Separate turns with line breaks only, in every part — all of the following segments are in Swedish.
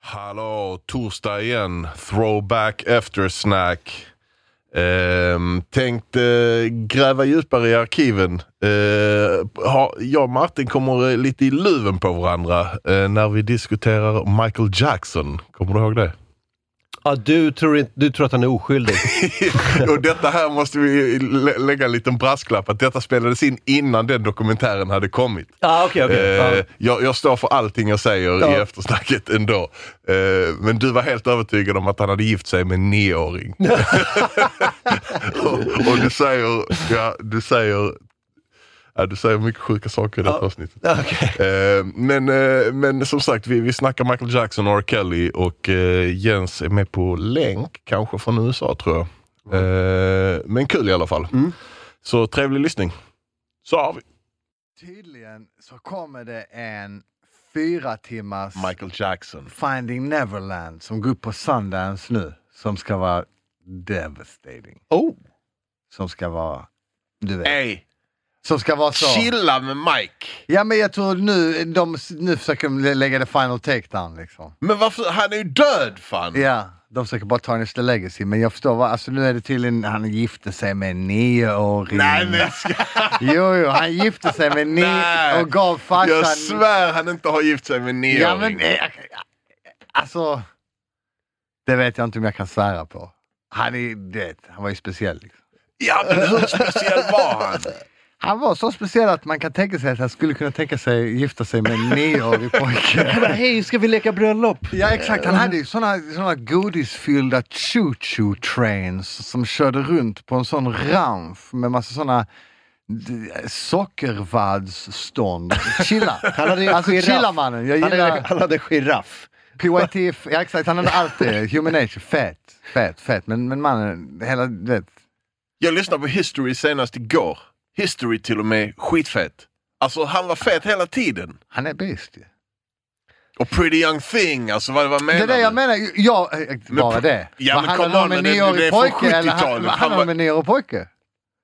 Hallå, torsdag igen. Throwback efter snack. Ehm, tänkte gräva djupare i arkiven. Ehm, ha, jag och Martin kommer eh, lite i luven på varandra eh, när vi diskuterar Michael Jackson. Kommer du ihåg det?
Ja, du, tror inte, du tror att han är oskyldig.
och detta här måste vi eh, lä- lägga en liten brasklapp att detta spelades in innan den dokumentären hade kommit.
ah, okej, okej.
Eh, jag, jag står för allting jag säger i
Ja.
eftersnacket ändå. Eh, men du var helt övertygad om att han hade gift sig med en nioåring. och, och du säger, ja, du säger, ja, du säger mycket sjuka saker i det här
Ja.
avsnittet.
Ja, okej.
Eh, men, eh, men som sagt, vi, vi snackar Michael Jackson och R. Kelly och eh, Jens är med på länk, kanske från USA tror jag. Eh, men kul i alla fall.
Mm.
Så trevlig lyssning. Så har vi
Tydligen så kommer det en fyra timmars
Michael Jackson.
Finding Neverland som går upp på Sundance nu. Som ska vara devastating.
Oh.
Som ska vara, du vet.
Hey.
Som ska vara så.
Chilla med Mike.
Ja men jag tror nu, de, nu försöker de lägga det final takedown liksom.
Men varför? Han är ju död fan!
Ja, de försöker bara tarnish the legacy. Men jag förstår, vad, alltså nu är det tydligen, han gifte sig med en nioåring.
Nej men ska...
Mm. Jo, jo, han gifte sig med en
Nej.
nio och gav farsan...
jag svär han inte har gift sig med en
Alltså, Ja, men
nioåring.
eh, alltså. Det vet jag inte om jag kan svära på. Han är, du vet, han var ju speciell. Liksom.
Ja, men hur speciell var han?
Han var så speciell att man kan tänka sig att han skulle kunna tänka sig gifta sig med en nioårig pojke.
Hej, ska vi leka bröllop?
Ja exakt, han hade ju såna, såna godisfyllda choo-choo trains som körde runt på en sån ramp med massa såna d- sockervaddsstånd. Chilla!
Han hade ju en
alltså
giraff.
chilla mannen, jag
Han hade,
gillar...
han hade giraff.
PYT, f- ja exakt, han hade allt det. Human nature, fett, fett, fett. Men, men mannen, hela, du vet.
Jag lyssnade på History senast igår. History till och med skitfett. Alltså han var fet hela tiden.
Han är bäst ju.
Och Pretty Young Thing, alltså vad, vad
Det
menar
är det
du?
jag menar, jag, eh, bara
pr-
det.
Ja,
Vad
men
handlar
come on,
den om en
men det- det är
nioårig
från
pojke? Eller han-
70-talet.
vad
Han
handlar
var-
den om en nioårig pojke?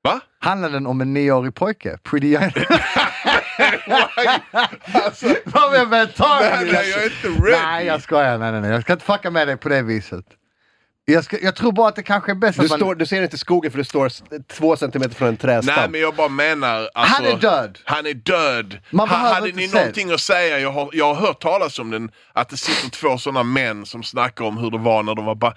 Va?
Handlar den om en nioårig pojke? Pretty young...
Alltså,
Vad var jag med
nej, nej, jag är inte ready.
Nej, jag skojar. Nej, nej, nej. Jag ska inte fucka med dig på det viset. Jag, ska, jag tror bara att det kanske är bäst
Du,
att man...
står, du ser inte skogen för du står s- två centimeter från en trädstam.
Nej men jag bara menar... Alltså,
Han är död.
Han är död!
Man
ha,
behöver
hade
inte
ni
se.
någonting att säga? Jag har, jag har hört talas om den, att det sitter två sådana män som snackar om hur det var när de var bara...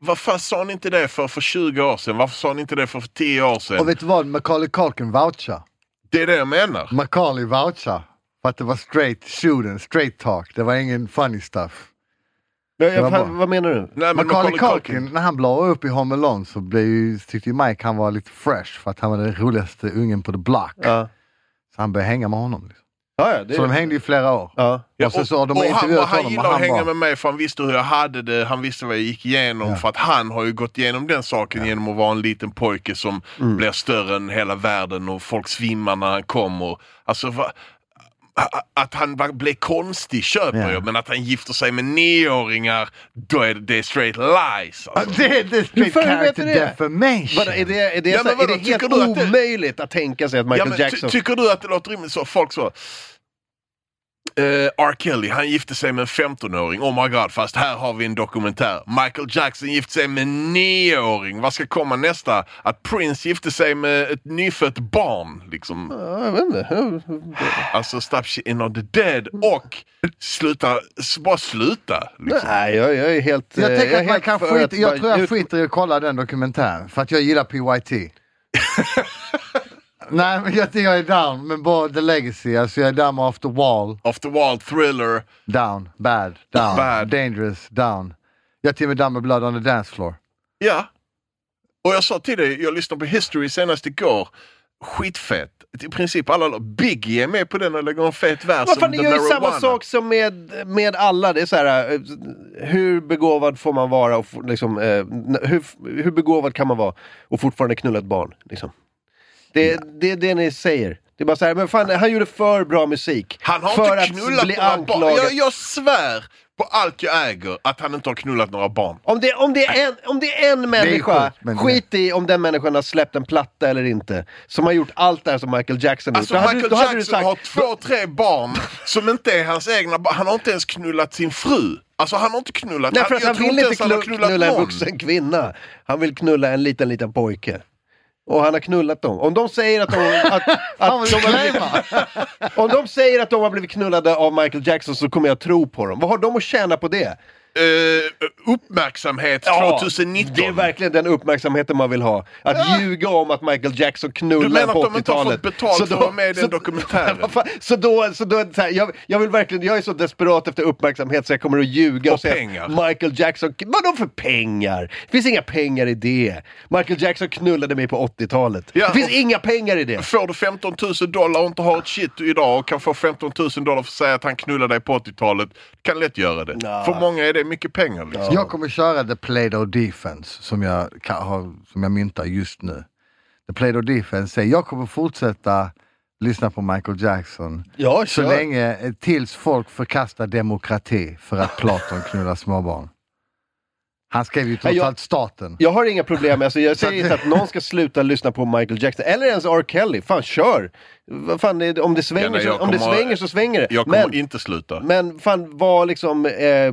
Vad fan sa ni inte det för för 20 år sedan? Varför sa ni inte det för för 10 år sedan?
Och vet du vad? Macaulay Culkin vouchar.
Det är det jag menar.
Macaulay vouchar. För att det var straight shooting, straight talk. Det var ingen funny stuff.
Men jag,
Det var
fan,
bra.
vad menar du?
Nej, men
Macaulay Culkin, när han blåade upp i Home Alone så blev ju, tyckte ju Mike han var lite fresh för att han var den roligaste ungen på the block.
Ja,
Så han började hänga med honom. Liksom.
ja, ja det
Så de hängde i flera år.
Ja.
Ja,
Och så, så har de
och han, och
intervjuat
han
honom och
gillade att
han
hänga
bara...
med mig för han visste hur jag hade det, han visste vad jag gick igenom. För att han har ju gått igenom den saken genom att vara en liten pojke som
Mm.
blir större än hela världen och folk svimmar när han kommer. Alltså, va, a- a- att han va- blev konstig köper
Ja.
jag, men att han gifter sig med nioåringar, då är det, det är straight lies. Alltså.
Det, det är straight
fan vet
character
du det?
defamation.
Vadå, är det, är det,
Ja,
så-
men vadå,
är det helt
tycker du att det-
omöjligt att tänka sig att
Ja,
Michael
men, ty,
Jackson...
tycker du att det låter rimligt så? Folk så... eh, R. Kelly, han gifte sig med en 15-åring. Oh my god, fast här har vi en dokumentär. Michael Jackson gifte sig med en 9-åring. Vad ska komma nästa? Att Prince gifte sig med ett nyfött barn. Liksom.
Ja, jag vet inte.
Alltså, stop shit in on the dead. Och sluta, s- bara sluta. Liksom.
Nej, jag, jag är helt... eh,
Jag
är
tänker att man
helt
kan
för
skita,
att
jag
bara
tror jag
ut-
skiter i att kolla den dokumentären för att jag gillar PYT. Nej men jag, jag är down med både The Legacy, alltså jag är down med Off the Wall,
Off the wall, thriller.
down, bad, down,
Bad.
dangerous, down. Jag är till och med down med Blood on the Dance Floor.
Ja. Och jag sa till dig, jag lyssnade på History senast igår. Skitfett. I princip alla Biggie är med på den och lägger en fet vers
Vad fan,
om
det
the
gör ju samma
marijuana.
sak som med, med alla. Det är så här, eh, hur begåvad får man vara och f- liksom, eh, n- hur, hur begåvad kan man vara och fortfarande knulla ett barn? Liksom. Det, det är det ni säger. Det är bara så här, men fan, han gjorde för bra musik.
Han har
för
inte knullat
bli
några barn.
anklagad.
Jag, jag svär. på allt jag äger att han inte har knullat några barn.
Om det, om det, är, en, om det är en människa,
sjukt, men-
skit i om den människan har släppt en platta eller inte, som har gjort allt det här som Michael Jackson har
Alltså
gjort. Då hade
Michael
du- då hade
Jackson
du sagt-
har två, tre barn som inte är hans egna barn. Han har inte ens knullat sin fru. Alltså han har inte knullat...
Nej, för att
jag
han
tror
vill
inte
inte
ens han har
knulla,
knullat
knulla en
någon.
vuxen kvinna. Han vill knulla en liten, liten pojke. Och han har knullat dem. Om de säger att de, att,
Fan
att
vad
de
du
har blivit,
claimar!
om de säger att de har blivit knullade av Michael Jackson så kommer jag tro på dem. Vad har de att tjäna på det?
Eh, uppmärksamhet 2019.
Det är verkligen den uppmärksamheten man vill ha. Att ljuga om att Michael Jackson
Du
knullade
menar
en
att
på
de inte har
80-talet.
fått betalt för att vara med i
så-
den dokumentären?
Vad fan, Så då, så då är det så här, jag, jag vill verkligen, jag är så desperat efter uppmärksamhet så jag kommer att ljuga och,
Och
säga
pengar.
Michael Jackson, vadå för pengar? Det finns inga pengar i det. Michael Jackson knullade mig på 80-talet.
Ja,
det finns
och-
inga pengar i det.
Får du 15 000 dollar och inte har ett shit idag och kan få 15 000 dollar för att säga att han knullade dig på 80-talet, kan lätt göra det.
Nja.
För många är det mycket pengar. Liksom.
Jag kommer köra The Play-Doh Defense som jag, ka- har, som jag myntar just nu. The Play-Doh Defense säger jag kommer fortsätta lyssna på Michael Jackson
Ja,
så
kör.
länge, eh, tills folk förkastar demokrati för att Platon knullar småbarn. Han skrev ju trots
jag-
allt staten.
Jag har inga problem, alltså, jag säger inte att någon ska sluta lyssna på Michael Jackson, eller ens R. Kelly. Fan, kör! Vad Fan, det- om, det svänger,
Ja, nej,
så,
jag
om det
kommer-
svänger så svänger det.
Jag kommer
Men,
inte sluta.
men fan, var liksom... Eh,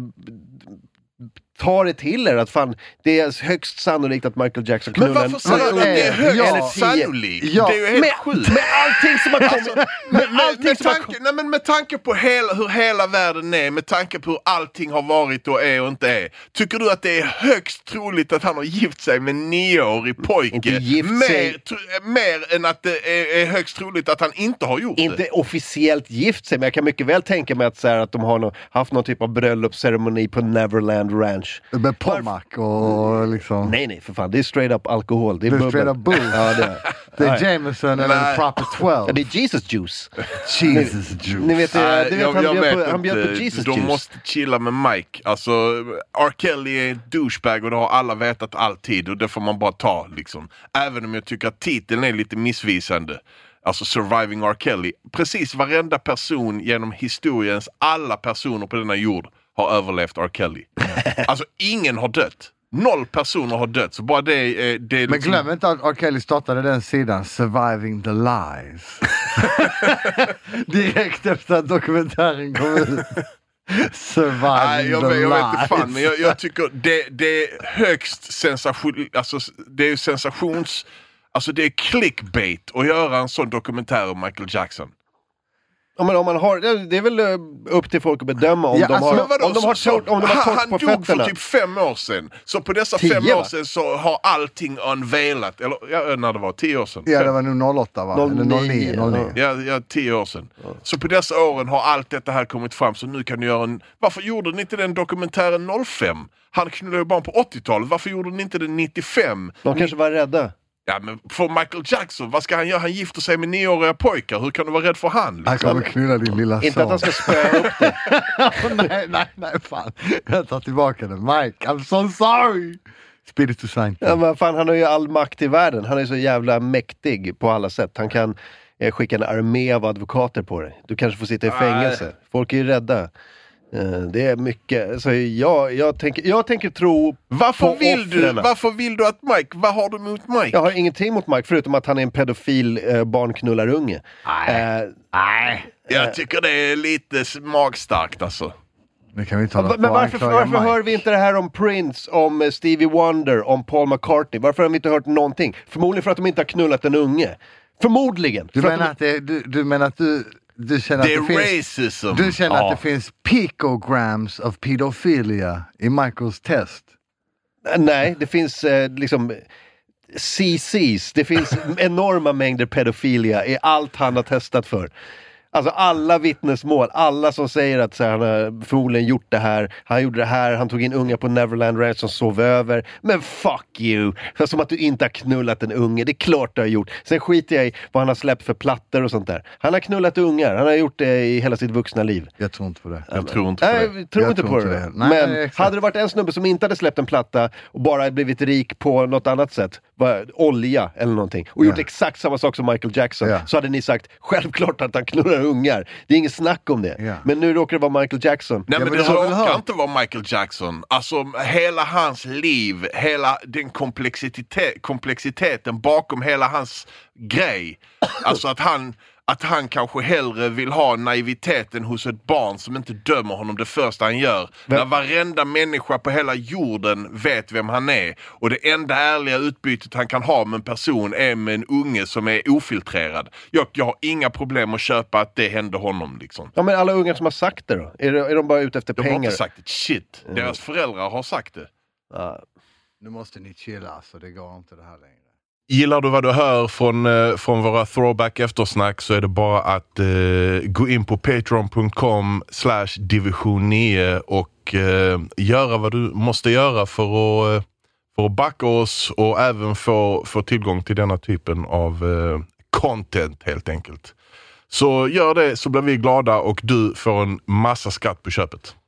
ta det till er att fan, det är högst sannolikt att Michael Jackson
Men
knullar Eh,
varför säger du att det är högst
Ja.
sannolikt?
Ja.
Det är ju helt
med,
sjukt.
med allting som har kommit... Alltså, med
Med,
allting
med,
som har
tanke, nej, men med tanke på hela, hur hela världen är, med tanke på hur allting har varit och är och inte är. Tycker du att det är högst troligt att han har gift sig med en nioårig pojke?
Inte gift
mer,
sig.
tro- mer än att det är, är högst troligt att han inte har gjort det.
inte officiellt gift sig, men jag kan mycket väl tänka mig att, så här, att de har nå- haft någon typ av bröllopsceremoni på Neverland Ranch.
Med Pommac och liksom...
Nej, nej, för fan. Det är straight up alkohol. Det är,
Det är
bubbel.
straight up booze.
Ja, det är.
Det
Nej.
är Jameson eller
Nej.
Proper
Ja,
12.
det är Jesus juice.
Jesus
Ni
juice.
vet, det,
Nej,
du vet
jag-
han,
jag
bjöd
vet
på, han bjöd på
inte.
Jesus
De
juice.
måste chilla med Mike. Alltså, R. Kelly är en douchebag och det har alla vetat alltid och det får man bara ta liksom. Även om jag tycker att titeln är lite missvisande. Alltså Surviving R. Kelly. Precis varenda person genom historiens alla personer på denna jord har överlevt R. Kelly. alltså ingen har dött. Noll personer har dött. Så bara det, är- det är
Men
liksom-
glöm inte att R. Kelly startade den sidan, Surviving the Lies. Direkt efter att dokumentären kom ut. Surviving
Nej, jag,
the
vet, jag
Lies.
vet inte fan, men jag, jag tycker det, det är högst sensation, alltså det är sensations, alltså det är clickbait att göra en sån dokumentär om Michael Jackson.
Ja, men om man har, det det är väl eh, upp till folk att bedöma om
Ja,
de
alltså,
har
men
Vadå,
om de har
så-
torrt om de har
han-
torrt
han
på
dog
fötterna.
för typ fem år sedan, så på dessa
Tio,
fem
va?
år sedan så har allting unveilat, eller ja, när det var, tio år sedan.
Ja, det var nog 08 va? Eller 09. 09.
Ja, ja, tio år sedan. Så på dessa åren har allt detta här kommit fram, så nu kan ni göra en... Varför gjorde ni inte den dokumentären 05? Han knullade ju barn på 80-talet, varför gjorde ni inte den 95?
De kanske var rädda.
Ja men för Michael Jackson, vad ska han göra? Han gifter sig med nioåriga pojkar, hur kan du vara rädd för han?
Han
Liksom?
kommer knulla din lilla son.
Inte att han ska spöa upp det.
nej, nej, nej, fan. Jag tar tillbaka det. Mike, I'm so sorry! Spiritus Sancti.
Ja, men fan, han har ju all makt i världen. Han är så jävla mäktig på alla sätt. Han kan eh, skicka en armé av advokater på dig. Du kanske får sitta i
Nej.
fängelse. Folk är ju rädda. Eh, Det är mycket. Så jag, jag, tänker, jag tänker tro på
Varför vill, du,
offren.
varför vill du att Mike, vad har du mot Mike?
Jag har ingenting mot Mike, förutom att han är en pedofil eh, barnknullarunge. Eh,
Nej.
Jag tycker det är lite s- magstarkt alltså.
Nu kan vi tala
Va- Men
och
varför,
anklaga
varför
Mike.
hör vi inte det här om Prince, om eh, Stevie Wonder, om Paul McCartney? Varför har vi inte hört någonting? Förmodligen för att de inte har knullat en unge. Förmodligen!
Du
för
menar
att
att, det, du, du, menar att du, du känner
Det
att det
är
finns...
racism.
Du känner
Ja.
att det finns picograms of pedofilia i Michaels test.
de, nej, det finns eh, liksom CCs, det finns enorma mängder pedofilia i allt han har testat för. Alltså alla vittnesmål, alla som säger att så här, han har förmodligen gjort det här, han gjorde det här, han tog in unga på Neverland Ranch som sov över. Men fuck you! För som att du inte har knullat en unge, det är klart du har gjort. Sen skiter jag i vad han har släppt för plattor och sånt där. Han har knullat ungar, han har gjort det i hela sitt vuxna liv.
Jag tror inte på det.
Jag tror inte på
Nej,
det.
jag tror
Jag
inte
tror
på
inte
typ. det.
det. Nej,
men
exakt.
hade det varit en snubbe som inte hade släppt en platta och bara blivit rik på något annat sätt, vad- bara, olja eller någonting och gjort
Ja.
exakt samma sak som Michael Jackson
Ja.
så hade ni sagt självklart att han knullar ungar. Det är inget snack om det.
Ja.
Men nu råkar det vara Michael Jackson.
Nej
Ja,
men,
men
det
du har väl
råkar
hört?
inte vara Michael Jackson. Alltså hela hans liv, hela den komplexite- komplexiteten bakom hela hans grej. Alltså att han, att han kanske hellre vill ha naiviteten hos ett barn som inte dömer honom det första han gör. När varenda människa på hela jorden vet vem han är. Och det enda ärliga utbytet han kan ha med en person är med en unge som är ofiltrerad. Jag, jag har inga problem att köpa att det hände honom liksom.
Ja men alla ungar som har sagt det då? Är, det, är de bara ute efter
De har
pengar?
inte sagt ett shit. Deras föräldrar har sagt det.
Ja.
Nu måste ni chilla alltså, det går inte det här längre.
Gillar du vad du hör från, eh, från våra throwback eftersnack så är det bara att eh, gå in på patreon.com slash division 9 och eh, göra vad du måste göra för att, eh, för att backa oss och även få, få tillgång till denna typen av eh, content helt enkelt. Så gör det så blir vi glada och du får en massa skatt på köpet.